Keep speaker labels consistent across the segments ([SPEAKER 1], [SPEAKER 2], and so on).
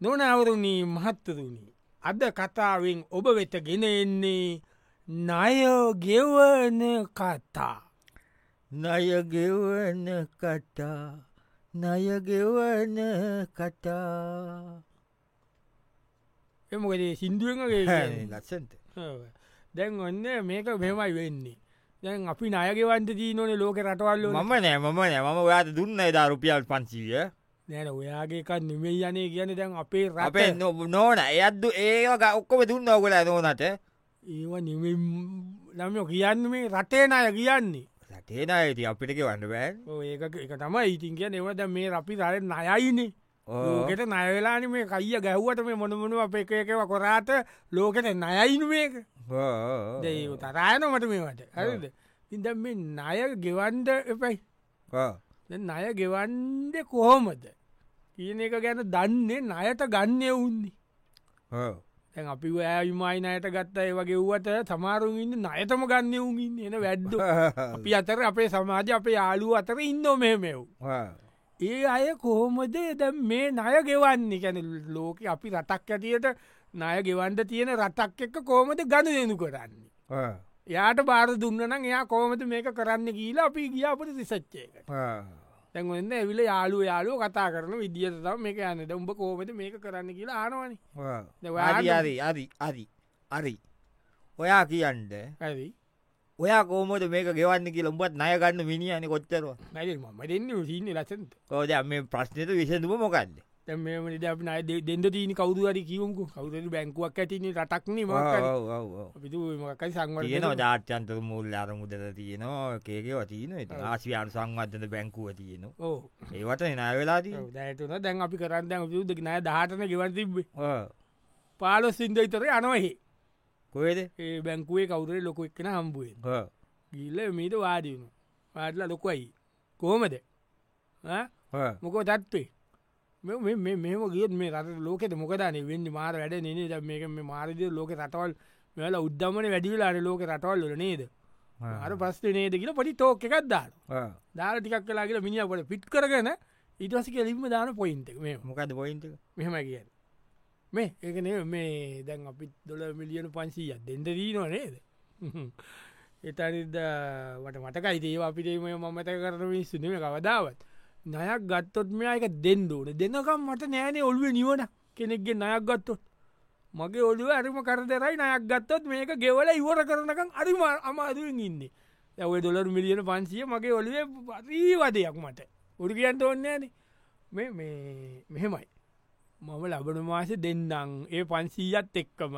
[SPEAKER 1] නොනවරුණී මහත්තරුණි අද කතාවෙන් ඔබ වෙත ගෙන එන්නේ නය ගෙවන කතා
[SPEAKER 2] නයගෙවන කටා නයගෙවන කටා
[SPEAKER 1] එමකදේ සිින්දුවෙන්ගේ
[SPEAKER 2] ලසට
[SPEAKER 1] දැන් ඔන්න මේක මෙමයි වෙන්නේ දැන් අපි නයගෙවන්ට දීනොන ලෝක රටවල්ල
[SPEAKER 2] මම නෑ මම නෑ මම ඔයාට දුන්න එදා රුපියල් පන්සීය
[SPEAKER 1] නැන ඔයාගේකක් නෙමේ යනේ කියන දැන් අපේ
[SPEAKER 2] අපේ
[SPEAKER 1] රපේ
[SPEAKER 2] නො- නොන එයත්දු ඒවා ඔක්කොම දුන්න ඔකොල නෝනට
[SPEAKER 1] ඒව නම කියන්න මේ රටේ අය කියන්නේ
[SPEAKER 2] රටේන ඇති අපිටක වන්න බෑන්
[SPEAKER 1] ඔව් ඒක එක තමයි ඉතින් කිය එවද මේ අපි රය නයයිනේ ලෝකෙට නයවෙලාන මේ කයිය ගැව්වට මේ මොනමුණු අප එක එකව කොරාට ලෝකෙට නයයින මේක දෙ තරායනොමට මේවට හරිද ඉද මේ නය ගෙවන්ඩ එපයි දැන් ණය ගෙවන්ඩ කොහොමද කියන එක ගැන දන්නේ නයට ගන්න උන්නේ තැන් අපි ඇවිමයි නයට ගත්ත ඒ වගේ ව්වට සමාරුන් ඉන්න නයතම ගන්න උන්ගින් එන වැඩ්ඩ අපි අතර අපේ සමාජ අපේ යාලුව අතර ඉන්න මේ මෙව් ඒ අය කොහොමද ද මේ ණය ගෙවන්නේ ගැන ලෝක අපි රටක් ඇතියට ණය ගෙවන්ඩ තියෙන රටක් එක්ක කෝමද ගණ දෙනු කරන්නේ යාට බාර දුන්නනම් එයා කෝමද මේක කරන්න කියලා අපි ගියාපට සිසච්චේක තැන්වෙන්න ඇවිල යාලු යාලුව කතා කරන විදිියට තම මේක යන්නට උඹ කෝමද මේක කරන්න කියලා ආනවනි
[SPEAKER 2] අරි අරි අරි අරි අරි ඔයා කියන්ට
[SPEAKER 1] ඇයි
[SPEAKER 2] ඔයා කෝමට මේක ගෙවන්න කියල උඹත් නයගන්න මිනිියන කොච්චරව
[SPEAKER 1] නැ මම දෙන්න සිීන්න ලසන්ත
[SPEAKER 2] කෝද මේ ප්‍රශ්නයට විසඳම මොකක්ද
[SPEAKER 1] තැමට අප නය දෙන්න දීන කවුදු අරි කිවුකු කවුරු බැංකුවක් ඇතින රටක්න ම පිතුමකයි
[SPEAKER 2] තියෙන
[SPEAKER 1] සංවල
[SPEAKER 2] ජාත්‍යන්ත මුල් අරමුදර තියෙනවා කේකව තියෙන ආසියාන් සංවර්ධන බැංකුව තියෙනවා
[SPEAKER 1] ඕ
[SPEAKER 2] ඒවට එනා වෙලාදී
[SPEAKER 1] දැටන දැන් අපි කරන්න යුදක නෑ දාටන ගෙවතිබ පාලො සිින්දයිතර අනොහි
[SPEAKER 2] කොේද
[SPEAKER 1] ඒ බැංකුවේ කවුරේ ලොක එක්න හම්බුවෙන් ගිල්ල මීට වාදීුණු වාඩල ලොකයි කෝමද මොකෝ තත්වේ මෙ මෙම ගියත් මේ රට ලෝකෙට මොකදන වෙන්න මාර වැඩ නේ ද මේක මේ මාරදය ලෝක රටවල් මෙල උද්දමන වැඩිවිලාට ලෝක රටවල්ල නේද අර පස්සේ නේද කියලා පටි තෝක එකක් දාන දාල ටිකක් කලා කියලා මිනිියපට පිට් කරගෙන ඉටස කෙලින්ම දාන පොයින්ට මේ
[SPEAKER 2] මොකද පොයින්ට
[SPEAKER 1] මෙහම කියන්න මේ ඒකන මේ දැන් අපිත් දොල මිලියන පන්සීය දෙන්ඩ දීනවා නේද එතනිද වට මටකයි දේව අපිටේම මමත කරන විස්සුනම කවදාවත් නයක් ගත්තොත් මෙයක දෙන්න ඕන දෙන්නකම් මට නෑනේ ඔල්ුව නිවන කෙනෙක්ගේ නයක් ගත්තොත් මගේ ඔලුව අරිම කරදරයි නයක් ගත්තොත් මේක ගෙවල ඉවර කරනකම් අරිම අමාදුවෙන් ඉන්නේ ඇව දොලර් මිලියන පන්සිය මගේ ඔලුවේ පරීවදයක් මට උඩු කියන්ට ඔන්න ඇන මේ මේ මෙහෙමයි මම ලබන මාස දෙන්නම් ඒ පන්සීයත් එක්කම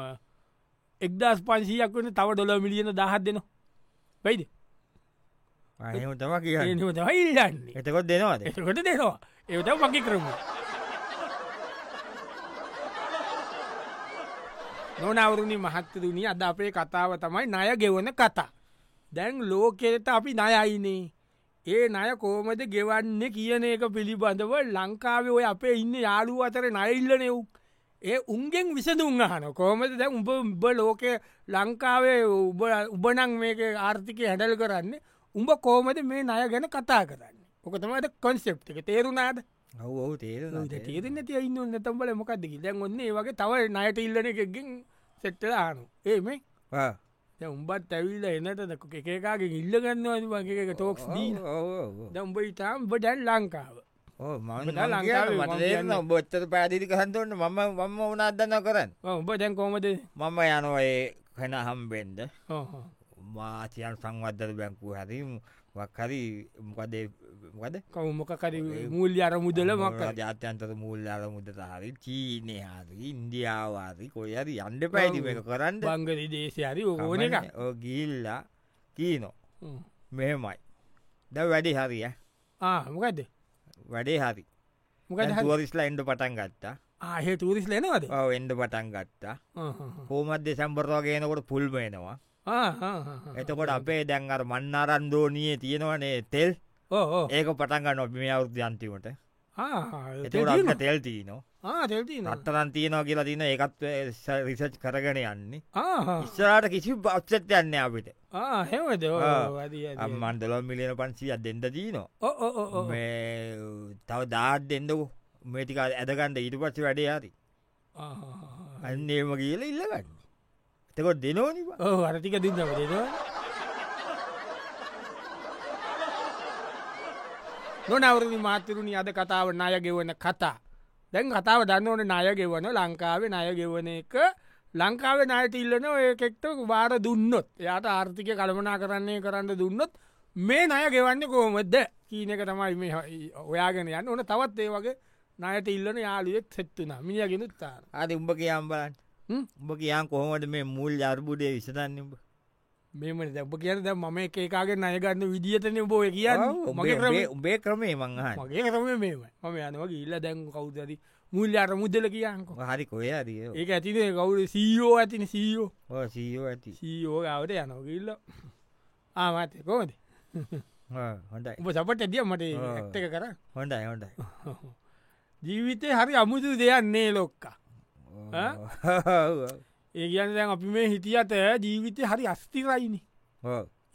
[SPEAKER 1] එක්දස් පන්සීයක් වන තව ඩොල මිලියන දහත් දෙනවා වෙයිද
[SPEAKER 2] අයම තම කිය
[SPEAKER 1] ඒහිල්ලන්නේ
[SPEAKER 2] එතකොත් දෙනවාද
[SPEAKER 1] එතකොට දෙනවා ඒට මකි කරමු නොනවරුණි මහත්තරුණි අද අපේ කතාව තමයි ණය ගෙවන කතා දැන් ලෝකෙට අපි ණයයිනේ ඒ ණය කෝමද ගෙවන්න කියන එක පිළිබඳව ලංකාවේ ඔය අපේ ඉන්න යාළුව අතර නයිල්ලනෙව් ඒ උන්ගෙන් විසඳුන් අහන කෝමද දැ උඹ උඹ ලෝක ලංකාවේ උඹ උබනං මේක ආර්ථිකය හැඩල් කරන්න උඹ කෝමද මේ ණය ගැන කතා කරන්න ඕකතමට කොන්සෙප් එක තේරුණාද
[SPEAKER 2] ඔවු තේ
[SPEAKER 1] තේරන තිය ඉන්න නැතම්බල මොකක්දකි දැන් ඔන්න ඒ වගේ තවයි නයට ඉල්ලන එකගෙන් සෙට්ටල ආනු ඒ මේ දැන් උඹත් ඇවිල්ල එනට දක එකකාගේ ඉල්ල ගන්නවාද වගේ එක තෝක්ස් දීන දම්ඹ ඉතාම් බඩැන් ලංකාව
[SPEAKER 2] බොත්තර පැදිරි කහන්තවන්න මම මම උනාදන්න කරන්න
[SPEAKER 1] උඹ දැන් කෝමද
[SPEAKER 2] මම යනඒ කැන හම්බෙන්ද මාතියන් සංවර්ධර බැංකු හරි වක්හරි මොකදේකද
[SPEAKER 1] කවුමකකර මුල් අර මුදල මක්
[SPEAKER 2] ජාත්‍යන්තර මුල් අර මුදත හරි චීනය හරි ඉන්දියාවාරි කොයරි අන්ඩ පැතික කරන්න
[SPEAKER 1] බංගල දේශයරි ඕන එක
[SPEAKER 2] ගමන ඔය ගිල්ලා කීනෝ මෙහෙමයි ද වැඩි හරිය
[SPEAKER 1] මොකද
[SPEAKER 2] වැඩේ හරි
[SPEAKER 1] මොකද
[SPEAKER 2] තුවරිස්ලා එන්ඩ පටන් ගත්තා
[SPEAKER 1] ආහෙ තුරිස් ලනවද
[SPEAKER 2] ඔව් එන්ඩ පටන් ගත්තා හෝමත් දෙසම්බරවාගේනකොට පුල්බේනවා එතකොට අපේ දැන්ගර මන්නාරන්දෝනයේ තියෙනවනේ තෙල්
[SPEAKER 1] ඕ
[SPEAKER 2] ඒක පටන්ගන්න ඔබිම අවුද අන්තිමට එතකට තෙල් තියනවා
[SPEAKER 1] තෙල්ති
[SPEAKER 2] නත්තරන් තියනවා කියලා තින ඒකත් රිසච් කරගෙන යන්නේ ඉස්සරට කිසි බක්්සත් යන්න අපිට
[SPEAKER 1] හෙමද
[SPEAKER 2] ආ. අම්මන්දලො මිලියන පන්සිීත් දෙන්න තියනවා
[SPEAKER 1] ඕ
[SPEAKER 2] මේ තව දාත් දෙන්නකු මේටික ඇදකන්ට ඊට පස්ස වැඩේ හරි
[SPEAKER 1] Ah,
[SPEAKER 2] අන්නේම කියල ඉල්ලගන්න එතකොට දෙනෝනිව
[SPEAKER 1] ඕ අරටික දෙන්න දෙනවා නොනවරදි මාතරුණි අද කතාව නාය ගෙවන කතා දැන් කතාව දන්න ඕන නාය ගෙවන ලංකාවේ නාය ගෙවන එක ලංකාවේ නායට ඉල්ලන ඒකෙක්ට වාර දුන්නොත් යාට ආර්ථික කළමනා කරන්නේ කරන්න දුන්නොත් මේ නය ගෙවන්න කොහොමද කීන එක තමයි මේ ඔයාගෙන යන්න ඕන තවත් ඒ වගේ නයට ඉල්ලන යාලුවෙක් සෙත්තුන මිියගෙනුත්තා
[SPEAKER 2] අද උඹ කියම් බලන්න උඹ කියන් කොහොමට මේ මුල් අර්බුඩය විසතන්න උඹ
[SPEAKER 1] මෙම දැබ කියන ද මම එකකාගේ අයගන්න විදිහතන බෝ කියන්න මගේ ක්‍රමේ
[SPEAKER 2] උබේ ක්‍රමේ මංහ
[SPEAKER 1] මගේ කරම මේම මම යනවා ඉල්ල දැන් කවුදද මුල් අර මුදල කියන්නක
[SPEAKER 2] හරි කොය දිය
[SPEAKER 1] ඒ ඇතින කවුද සීෝ ඇතින සීෝ
[SPEAKER 2] සීෝ ඇති
[SPEAKER 1] සීෝ ගවට යනකිල්ල ආමත කොමද
[SPEAKER 2] හොඳයි
[SPEAKER 1] උප සපට ඇදිය මට ඇත්තක කර
[SPEAKER 2] හොඳයි හොඳයි
[SPEAKER 1] ජීවිතය හරි අමුතු දෙයන්නේ ලොක්කා ඒ කියන්න දැන් අපි මේ හිටියට ජීවිතය හරි අස්තිරයිනි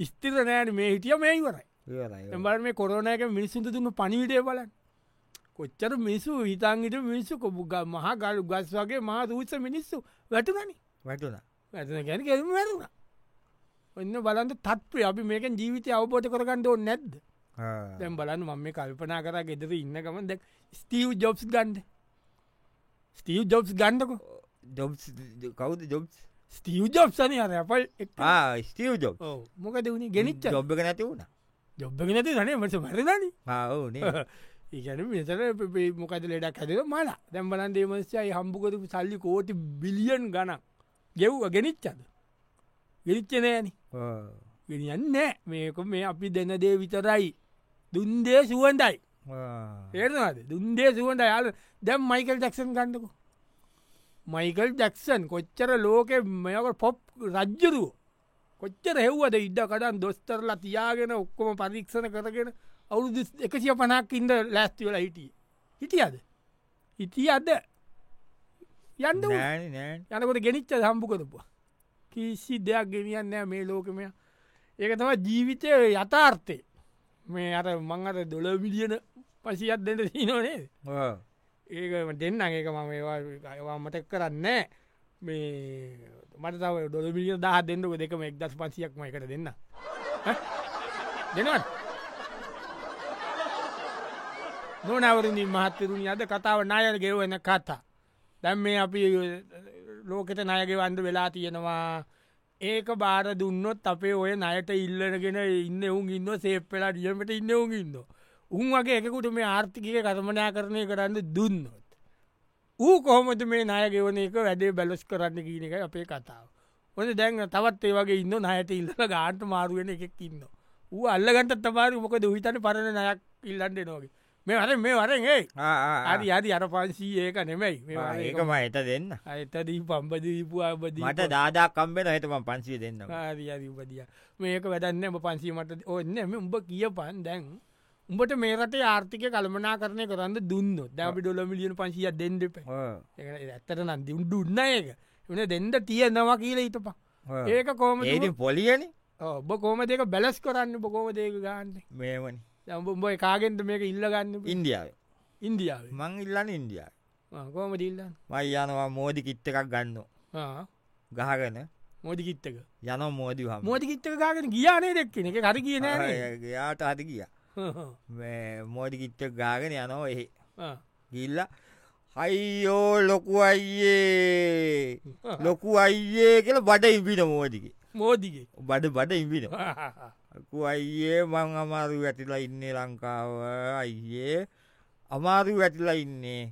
[SPEAKER 1] ස්තිර නෑන මේ හිටිය මේ ඉවරයි එබර මේ කොරනයක මිනිස්සුන්ට තුන්න පනිවිටේ බලන් කොච්චර මිනිසු හිතන්ගට මිනිස්සු කොපුග මහ ගලු ගස් වගේ මහ දූස මිනිස්සු වැටුනනි
[SPEAKER 2] වැටුණ
[SPEAKER 1] වැටන ගැන කෙරම වැරුණ ඔන්න බලන්ට තත්වේ අපි මේක ජීවිතය අවබෝධ කරගන්න ඕ නැද්ද දැම් බලන්න මම මේ කල්පනා කර ගෙදර ඉන්නකම දැක් ස්ටීව් ජොබ්ස් ගන්ඩ ස්ටීව් ජොබ්ස් ගන්ඩකු
[SPEAKER 2] කවද ජොබ්
[SPEAKER 1] ස්ටිය ජොබ්සන අර අපල්
[SPEAKER 2] ස්ටිය ජොබ්
[SPEAKER 1] මොකද වුණ ගෙනනිච්ච
[SPEAKER 2] ඔබ්ග නැති වුණ
[SPEAKER 1] ජොබ්ග නැති නේ මට මරදන
[SPEAKER 2] ඕනේ
[SPEAKER 1] ඒගැන මෙතර මොකද ලෙඩක් හැදක මලා දැම්බලන් දේමස්යයි හම්බුකරපු සල්ලි කෝටි බිලියන් ගන ගෙව්ව ගෙනනිච්චද ගෙරිච්ච නෑන ගෙනියන්න මේක මේ අපි දෙන දේ විතරයි දුන්දේ සුවන්ටයි ඒනවාද දුන්දේ සුවන්ට යාල දැම් මයිකල් ටක්සන් ගන්නකු මයිකල් ජැක්සන් කොච්චර ලෝකෙ මෙකට පොප් රජ්ජරුව කොච්චර හෙව්වද ඉඩ කඩන් දොස්තරලා තියාගෙන ඔක්කොම පරීක්ෂණ කරගෙන අවුදු එකසිය පනක් ඉන්ද ලැස්තිවල හිටිය හිටියද හිටිය අද යන්න යනකොට ගෙනනිච්ච හම්පු කරපුවා කිසි දෙයක් ගෙනියන්න මේ ලෝකමය ඒක තම ජීවිතය යථාර්ථය මේ අර මං අර දොල විලියන පසිියත් දෙට සිනෝනේද ඒක දෙන්න ඒක මම ඒවා මටක් කරන්න මේ මට තව ඩොලමිිය දහ දෙන්නක දෙකම එක්දස් පන්සියක්ම එකට දෙන්න දෙනවත් නොනවරින් මහත්තරුණ අද කතාව නායර ගෙවන කතා දැම් මේ අපි ලෝකෙට නයගෙවන්ඩ වෙලා තියෙනවා ඒක බාර දුන්නොත් අපේ ඔය නයට ඉල්ලනගෙන ඉන්න උන් ඉන්න සේප්පෙලා ියමට ඉන්න උන් ඉන්නවා උන් වගේ එකකුට මේ ආර්ථිකය කර්මනා කරණය කරන්න දුන්නොත්. ඌ කොහොමද මේ නායගෙවන එක වැඩේ බැලොස් කරන්න කියන එක අපේ කතාව. ඕන දැන් තවත් ඒ වගේ ඉන්න නයට ඉල්ල ගාන්ට මාරුවෙන එකෙක් ඉන්න. ඌ අල්ලගන්ට තමාර මොකද විතන පරණ නයක් ඉල්ලන්න නොගේ. මේ අර මේ වරෙන් ඒ අරි අරි අර පන්සී ඒක නෙමැයි
[SPEAKER 2] ඒකම ඇත දෙන්න
[SPEAKER 1] ඇතදී පම්බදීපු අබදී
[SPEAKER 2] මට දාදාකම්බෙන හතම පන්සිය දෙන්න
[SPEAKER 1] ආරි අරිපදිය මේක වැඩන්න පන්සීමට ඔන්න එම උඹ කිය පන් දැන්. උඹට මේ රටේ ආර්ථික කළමනා කරණය කරන්න දුන්න දැපි ඩොලමිලියන පංශිය දෙන්නප ඇත්තට නම් දියුන් දුන්න ඒක එන දෙන්ඩ තියෙනවා කියලා හිතපා ඒක කෝම
[SPEAKER 2] පොලියන
[SPEAKER 1] ඔබ කෝම දෙක බැලස් කරන්න බොකෝම දෙක ගන්න
[SPEAKER 2] මේවනි
[SPEAKER 1] උඹ කාගෙන්ට මේක ඉල්ලගන්න
[SPEAKER 2] ඉන්දියාව
[SPEAKER 1] ඉන්දියාව
[SPEAKER 2] මං ඉල්ලන්න ඉන්දියා
[SPEAKER 1] කෝම ඉල්ලන්න
[SPEAKER 2] මයියනවා මෝදි කිට්ට එකක් ගන්න ගහගන
[SPEAKER 1] මෝදි කිත්තක
[SPEAKER 2] යන මෝදි
[SPEAKER 1] මෝදි කිත්තක කාගෙන ගියානේ දෙක්කන එක හරි කියන
[SPEAKER 2] යාට හරි කියා මෝඩි කිච්චක් ගාගෙන යනෝ එහෙ ගිල්ල හයිෝ ලොකු අයියේ ලොකු අයියේ කියල බඩ ඉබින මෝදික
[SPEAKER 1] මෝදිගේ
[SPEAKER 2] බඩ බඩ ඉබින ලකු අයියේ මං අමාරු වැටිලා ඉන්නේ ලංකාව අයියේ අමාරු වැටිලා ඉන්නේ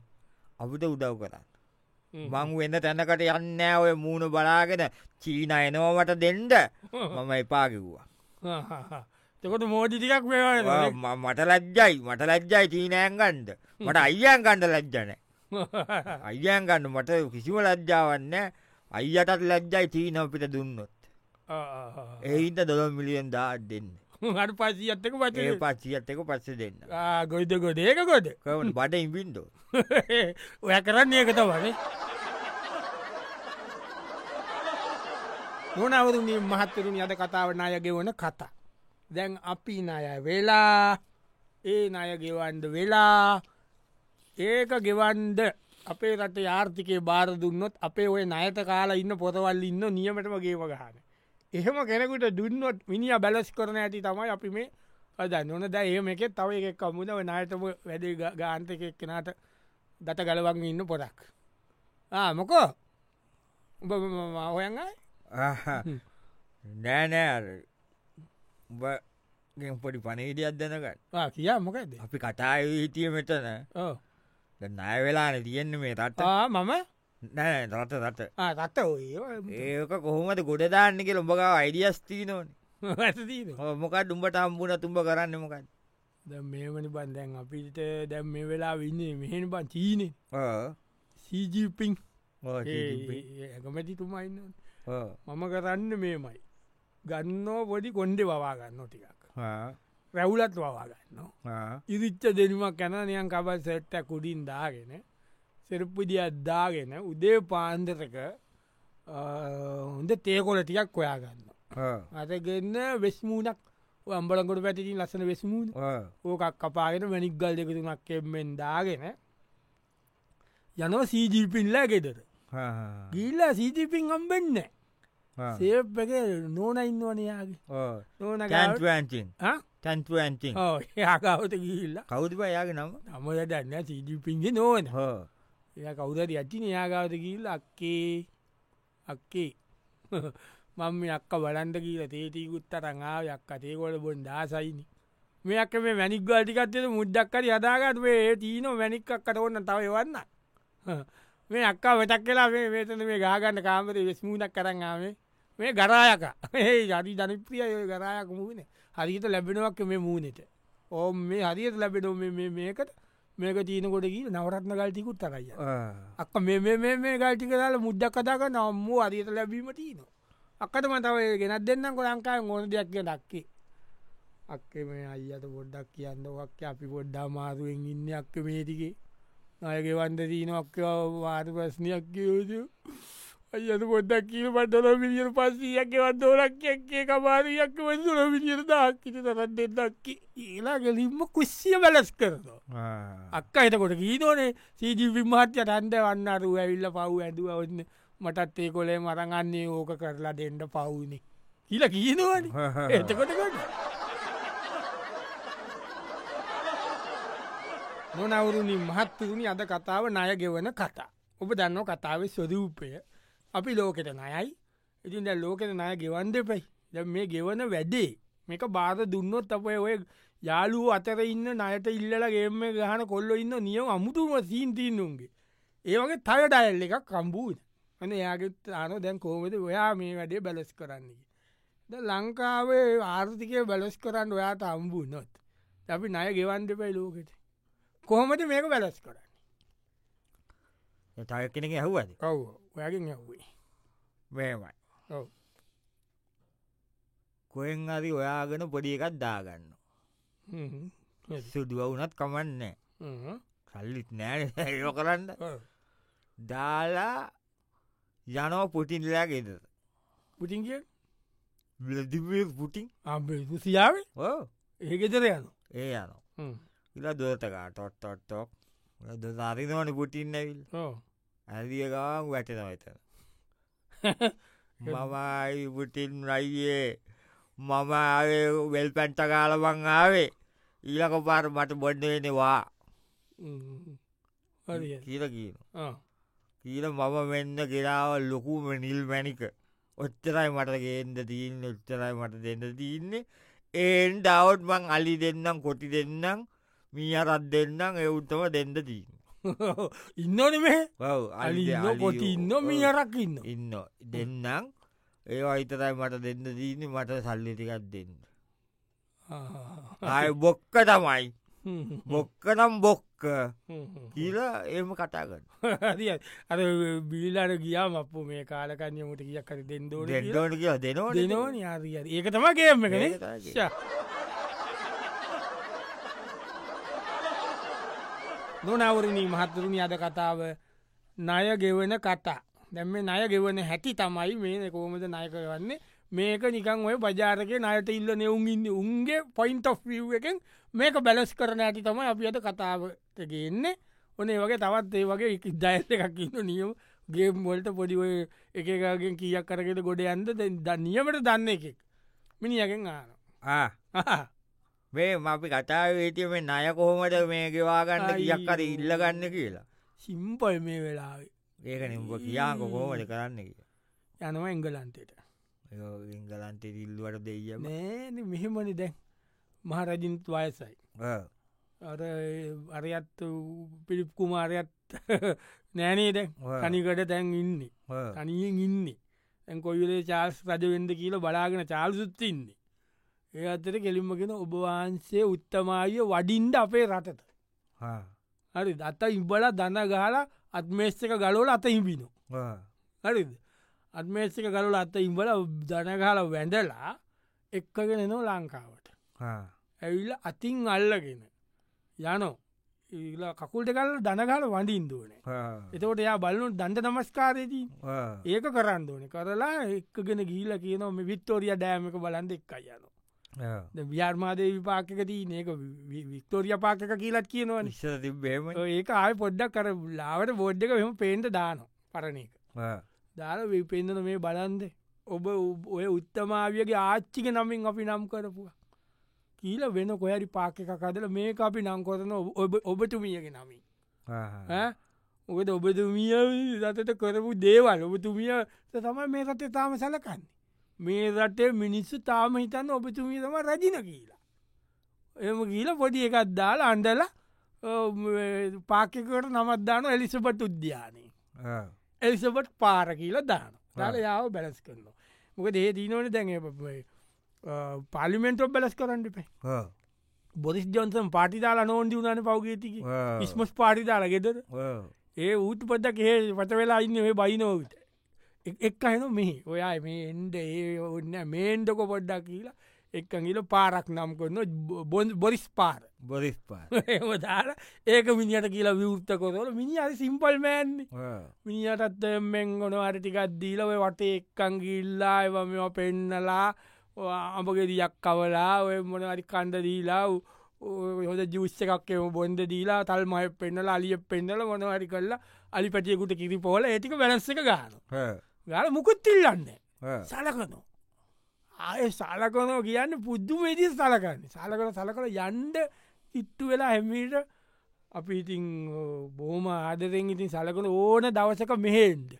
[SPEAKER 2] අපිට උදව් කරන්න මං වෙන්න තැනකට යන්න ඔය මූුණ බලාගෙන චීන එනවමට දෙන්ඩ මම එපාකිව්වා
[SPEAKER 1] තකොට මෝඩි ටිකක් වේවා
[SPEAKER 2] මට ලජ්ජයි මට ලජ්ජයි චීනෑන්ගන්ඩ මට අයියන් ගණ්ඩ ලජ්ජන අයියන් ගන්න මට කිසිම ලජ්ජාවන්න අයියටත් ලජ්ජයි චීන අපිට දුන්නොත් එයින්ට දොළ මිලියන් දාත් දෙන්න
[SPEAKER 1] හට පසි ඇත්තක පචේ
[SPEAKER 2] පච්චි ඇත්තක පස්ස දෙන්න
[SPEAKER 1] ගොයිද ගොඩ ඒක ගොඩ
[SPEAKER 2] කවන බඩ ඉබින්ඩෝ
[SPEAKER 1] ඔය කරන්න ඒකත වනේ නොනවරුණින් මහත්තරුණ අද කතාවන අයගෙවන කතා දැන් අපි නය වෙලා ඒ අය ගෙවන්ඩ වෙලා ඒක ගෙවන්ඩ අපේ රට ආර්ථිකය බාර දුන්නොත් අපේ ඔය නයට කාලා ඉන්න පොතවල් ඉන්න නියමටම ගේම ගහන. එහෙම කෙනෙකුට දුන්නොත් මිනිිය බැලස් කරන ඇති තමයි අපි මේ දන්නන ද ඒම එකෙත් තව එකක් අමුද නායතම වැඩේ ගාන්තක එක්කෙනට දත ගලවන් ඉන්න පොරක්. මොකෝ උඹ හොයන්ගයි
[SPEAKER 2] නෑනෑ පොඩි පනවිඩියක් දෙනකට
[SPEAKER 1] කියා මොකද
[SPEAKER 2] අපි කටා හිටිය මෙතන නය වෙලාන තියෙන්න මේ රට
[SPEAKER 1] මම
[SPEAKER 2] නෑ රට රට
[SPEAKER 1] රත්ත
[SPEAKER 2] ඒක කොහොමද ගොඩදාන්න කිය ලොඹගා අයිඩියස් තිීනෝන
[SPEAKER 1] ඇතිීන
[SPEAKER 2] මොකක් උඹට අම්බුණ තුම්ඹ කරන්න මොකක්
[SPEAKER 1] මේමනි බන්දැන් අපිට දැම් මේ වෙලා වින්නේ මෙහෙන බන් චීනෙ සීජීපිං ඇකමැති තුමයින්න මම කරන්න මේමයි ගන්නෝ පොඩි කොන්්ඩෙ වවා ගන්න ටිකක් රැවුලත් වවා ගන්න ඉරිච්ච දෙනුමක් කැන නියන් කබල් සෙට්ට කුඩින් දාගෙන සෙරප්පුදිය අද්දාගෙන උදේ පාන්දරක හොඳ තේකොල ටිකක් කොයා ගන්න අතගන්න වෙස්මූනක් අම්බලකොට පැටින් ලස්සන වෙස්මූන් ඕකක් කපාගෙන වැනික්ගල් දෙකතුනක් කෙම්මෙන් දාගෙන යනෝ සීජීපින්ලා ගෙදර ගිල්ල සීජීපින් අම්බෙන්න සේප්ක නෝන ඉන්නවනයාගේ නෝන
[SPEAKER 2] ටන්ටන් තන්තුවන්චි
[SPEAKER 1] යාකවත ගිල්ලා
[SPEAKER 2] කෞතිප යාගේ නම
[SPEAKER 1] නම දන්න සීජීපින්ගේ නෝන එය කවුදරි අච්චි නයාගාවත ගිල්ල අක්කේ අක්කේ මම යක්ක බලන්ට කියීල තේටීකුත් අරඟාව යක්ක තේකොට බොන් දාසයිනි මේක මේ වැනික්ගල්ටිකත්ය මුද්දක්කරි අදාගත් වේ තිීන වැනික්කක්කට ඔන්න තව වන්න මේ අක්කා වෙටක් කලා මේ වේතන මේ ගාගන්න කාමරේ වෙස්මූනක් කරන්නාවේ මේ ගරායක ඒ ජරි ජනප්‍රිය ය ගරායක මූුණ හරිත ලැබෙනවක් මේ මූනෙට ඕම් මේ හරියට ලැබෙනෝ මේකට මේක තියනකොට ගී නවරත්න ගල්ටිකුත් තරයි අක්ක මේ මේ ගල්ටි කරලා මුද්දක් කතාක නම්මූ අරියට ලැබීම තියන අක්කට මතව ගෙනත් දෙන්නම් කොලංකාය ඕොන දෙයක් ඩක්කේ අක්කේ මේ අයියට පොඩ්ඩක් කියන්න වක් අපි පොඩ්ඩා මාරුවෙන් ඉන්න අක්ක මේටිකේ අයගෙවන්ද දීනක් වාර ප්‍රශ්නයක් යෝජ අයද පොඩ්ඩක් කියීල පටල විිියර පස්සීයක්ක වදෝලක්යක්කේ කමාරයක් වදල විිියර දක්කිට තරත් දෙදක්කි ඒලා ගැලින්ම කුස්සිය වැලස් කරනවා අක්ක එතකොට ගීනෝනේ සීජී විමාත්‍ය ටන්ද වන්න අරු ඇවිල්ල පව් ඇදුව ඔන්න මටත් ඒ කොලේ මරගන්නේ ඕක කරලා දෙන්ඩ පවුනේ කියල කියීනවන එතකොට ගන්න. නොනවුරුණි මහත්තුරුණි අද කතාව ණය ගෙවන කතා. ඔබ දන්න කතාව ස්වදූපය අපි ලෝකෙට නයයි ඉතින් දැ ලෝකෙට නය ගෙවන් දෙපයි ද මේ ගෙවන වැඩේ මේක බාර දුන්නොත් අපේ ඔය යාලූ අතර ඉන්න නයට ඉල්ලලගේම ගහන කොල්ල ඉන්න නියම අමුතුම සීන්තිීන්නුන්ගේ. ඒවගේ තය ඩයල් එකක් කම්බූද ඇන යාගෙත් අන දැන් කෝමද ඔයා මේ වැඩේ බැලස් කරන්නේ. ද ලංකාවේ ආර්ථිකය බැලස් කරන්න ඔයාට අම්බූ නොත් අපි නය ගෙවන් දෙපයි ලෝකෙට කොහොමද මේක වැලස් කරන්නේ
[SPEAKER 2] තය කෙනෙක ඇහුවද
[SPEAKER 1] ඔව ඔයගෙන් ඇහුවේ
[SPEAKER 2] මේමයි කොයෙන් අරි ඔයාගෙන පොඩි එකක් දාගන්න සුදුව වුනත් කමන්න කල්ලිත් නෑ යෝ කරන්න දාලා යනෝ පුටින්ලයා ගෙද
[SPEAKER 1] පුටින්ගේ
[SPEAKER 2] ලදිිය පුටින්
[SPEAKER 1] අම්බේ සියාවේ ඒගෙතර යන
[SPEAKER 2] ඒ යනවා ඉලා දොරටකා ටොට්ටොට්ටොක් දසාරිනවන පුටින්නවිල් ඇදියගාව වැටනවත මමයි පුටින් රයියේ මම වෙල් පැන්ට කාලබං ආවේ ඊලක පාර මට බොඩ්ඩවෙනවා කියල කියන කියල මම මෙන්න ගෙරාව ලොකුම නිල් මැනික ඔච්චරයි මට ගේන්ද තිීන්න ඔච්චරයි මට දෙන්න තියන්නේ ඒන් ඩවට් මං අලි දෙන්නම් කොටි දෙන්නම් මී අරත් දෙන්නම් එවුත්තම දෙන්න දී
[SPEAKER 1] ඉන්නන මේ අලින්න පොති ඉන්න මී අරක් ඉන්න
[SPEAKER 2] ඉන්න දෙන්නම් ඒ අයිතරයි මට දෙන්න දීන මට සල්ලි ටිකත් දෙන්න අය බොක්ක තමයි බොක්ක නම් බොක්ක කියලා ඒම කටාගන්න
[SPEAKER 1] අර බිලට ගියාම අපපු මේ කාලකන්නයමට කියකර දෙන්දෝ
[SPEAKER 2] දෙන්නට කිය දෙනවා
[SPEAKER 1] දෙනවා යාරි ඒක තමගේම කන නොනවරණී මහත්තුරුණි අද කතාව ණය ගෙවන කතා දැම ණය ගෙවන හැටි තමයි මේ කෝමද ණය කරවන්නේ මේක නිකන් ඔය බජාරක නයට ඉල්ල නෙවුන්ඉන්න උන්ගේ පොයින්ට ඔ් ිය් එකෙන් මේක බැලස් කරන ඇති තමයි අපි අද කතාවටගන්නේ ඕනේ වගේ තවත් ඒ වගේ එක දයත් එකක් ඉන්න නියම ගේ මොල්ට පොඩිඔය එකකගෙන් කියක් කරගෙට ගොඩ යන්ද දනියමට දන්න එකෙක් මිනිියගෙන් ආන
[SPEAKER 2] මේ අපි කතාවේතිය මේ නය කොහොමට මේ ගෙවාගන්න කියක්කර ඉල්ලගන්න කියලා
[SPEAKER 1] සිම්පල් මේ වෙලාවේ
[SPEAKER 2] ඒක නිම්බ කියා කොහෝමට කරන්න කිය
[SPEAKER 1] යනවා එංගලන්තේට
[SPEAKER 2] ඉංගලන්ට ඉල්ලුවට දෙයම
[SPEAKER 1] නෑන මෙහෙමනි දැන් මහරජින්ත් වයසයි අර අරයත් පිරිප් කුමාරයත් නෑනේ දැන් තනිකට තැන් ඉන්නේ තනියෙන් ඉන්නේ ඇන් කොයිලේ චාල්ස් රජවෙන්ද කියල බලාගෙන චාල්සුත් ඉන්නේ ඒ අතර කෙලින්මගෙන ඔබවහන්සේ උත්තමාය වඩින්ඩ අපේ රටත හරි දත්ත ඉබල දන්න ගාලා අත්මේෂ්ක ගලෝල අත ඉබිනෝ හරිද අත්මේෂික ගලු අත්ත ඉම්බල දනගාල වැඳලා එක්කගෙන නො ලංකාවට ඇවිල්ල අතින් අල්ලගෙන යනෝ ඒල කකුල්ට කල්ල දනගාල වඩින්දුවනේ එතකොට එයා බලනු දන්ට නමස්කාරයදී ඒක කරන්දෝන කරලා එක්කගෙන ගීල කියනම වික්තෝරිය දෑමක බලන්ද එක් අයනවා ව්‍යාර්මාදය විපාකකදී ඒක වික්තෝරිය පාකක කියලත් කියනවා නිශ්ස තිබේම ඒ ආය පොඩ්ඩක් කර ලාවට බෝඩ්ඩක මෙම පේන්ට දානො පරණ එක දාල විපෙන්දන මේ බලන්ද ඔබ ඔය උත්තමාවියගේ ආච්චික නමින් අපි නම් කරපුවා කියීල වෙන කොහැරි පාකක කදල මේ අපි නංකොතන ඔබ ඔබතුමියගේ නමින් ඔකද ඔබතුමිය රතට කරපු දේවල් ඔබතුමිය තමයි මේ රටේ තාම සැලකන්නේ මේ රටේ මිනිස්සු තාම හිතන්න ඔබතුමිය තම රජින කියලා එම කියීල පොඩි එකත් දාල අන්ඩල පාකකට නමත් දාන එලිසපට උද්‍යානය
[SPEAKER 2] Э,
[SPEAKER 1] එල්සබට් පාර කියලා දාන දාල යාව බැලස් කරනවා මොක දේ දීනවන දැඟ පාලිමෙන්ටෝ බැලස් කරන්නට පැ
[SPEAKER 2] э,
[SPEAKER 1] බොරිස් ජොන්සන් පාටිදාලා නෝන්ඩි වුණන පවගේතික
[SPEAKER 2] э,
[SPEAKER 1] ඉස්මස් පාටිදාලා ගෙදර ඒ ඌට පොද්දක් ඒ පට වෙලා ඉන්න මේ බයිනෝවිට එක් අහන මෙහි ඔයා මේ එන්ඩ ඒ ඔන්න මේන්ඩකො පොඩ්ඩක් කියලා එක්කගිල පාරක් නම් කරන්න බොරිස් පාර
[SPEAKER 2] බොරිස්
[SPEAKER 1] පාර ඒක මිනිට කියලා විවෘත්ත කොරල මිනි අරි සිම්පල් මෑන්
[SPEAKER 2] Э,
[SPEAKER 1] මිනිටත් මෙන් ගොන අරටිකක්දීලව වටේ එක්කං ගිල්ලා එවම පෙන්නලා අඹගෙදියක් කවලා ඔය මොන අරි කණ්ඩ දීලා හොද ජුස්්‍ය එකක්කම බොන්ද දීලා තල් මය පෙන්නලා අලිය පෙන්නල මොන අරි කල්ලා අලි පැටියකුට කිරි පෝල ඒතික වැලස්ස එක ගාන
[SPEAKER 2] э,
[SPEAKER 1] ගල මුකුත්තිල්ලන්න සලකනවා ආය සලකනෝ කියන්න පුද්දු වෙදී සලකන්න සලකන සලකන යන්ඩ ඉට්ටු වෙලා හැමිට අපි ඉතින් බෝම ආදරෙන් ඉතින් සලකන ඕන දවසක මෙහෙන්ඩ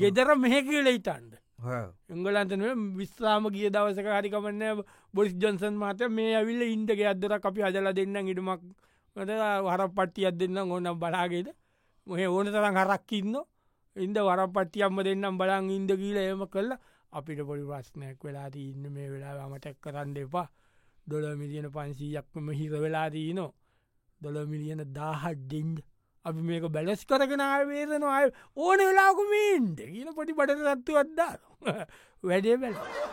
[SPEAKER 1] ගෙදර මෙහ කියල ඉතන්ඩ
[SPEAKER 2] э.
[SPEAKER 1] එංගලන්තන විස්්‍රාම කිය දවසක හරිකමන්න බොරිස් ජොන්සන් මත මේ ඇවිල්ල ඉන්ඩක අදර අපි අදල දෙන්න ඉඩමක් හර පට්ටි අත් දෙන්න ඕන බලාගෙද මොහ ඕන තරම් හරක් ඉන්න ඉන්ද වර පට්ටියම්ම දෙන්නම් බලන් ඉන්ද කියීල එම කරලා අපිට පොඩි ප්‍රශ්නයක් වෙලාදී ඉන්න මේ වෙලා අමටැක් කරන්න එපා දොල මිලියන පන්සීයක්ම හිර වෙලාදී නෝ දොල මිලියන දාහඩ්ඩින්ඩ අපි මේක බැලස් කරගෙන ආවේදන අය ඕන වෙලාකුමින්ට කියන පොටි පට සත්තු වත්දා වැඩේ බැලා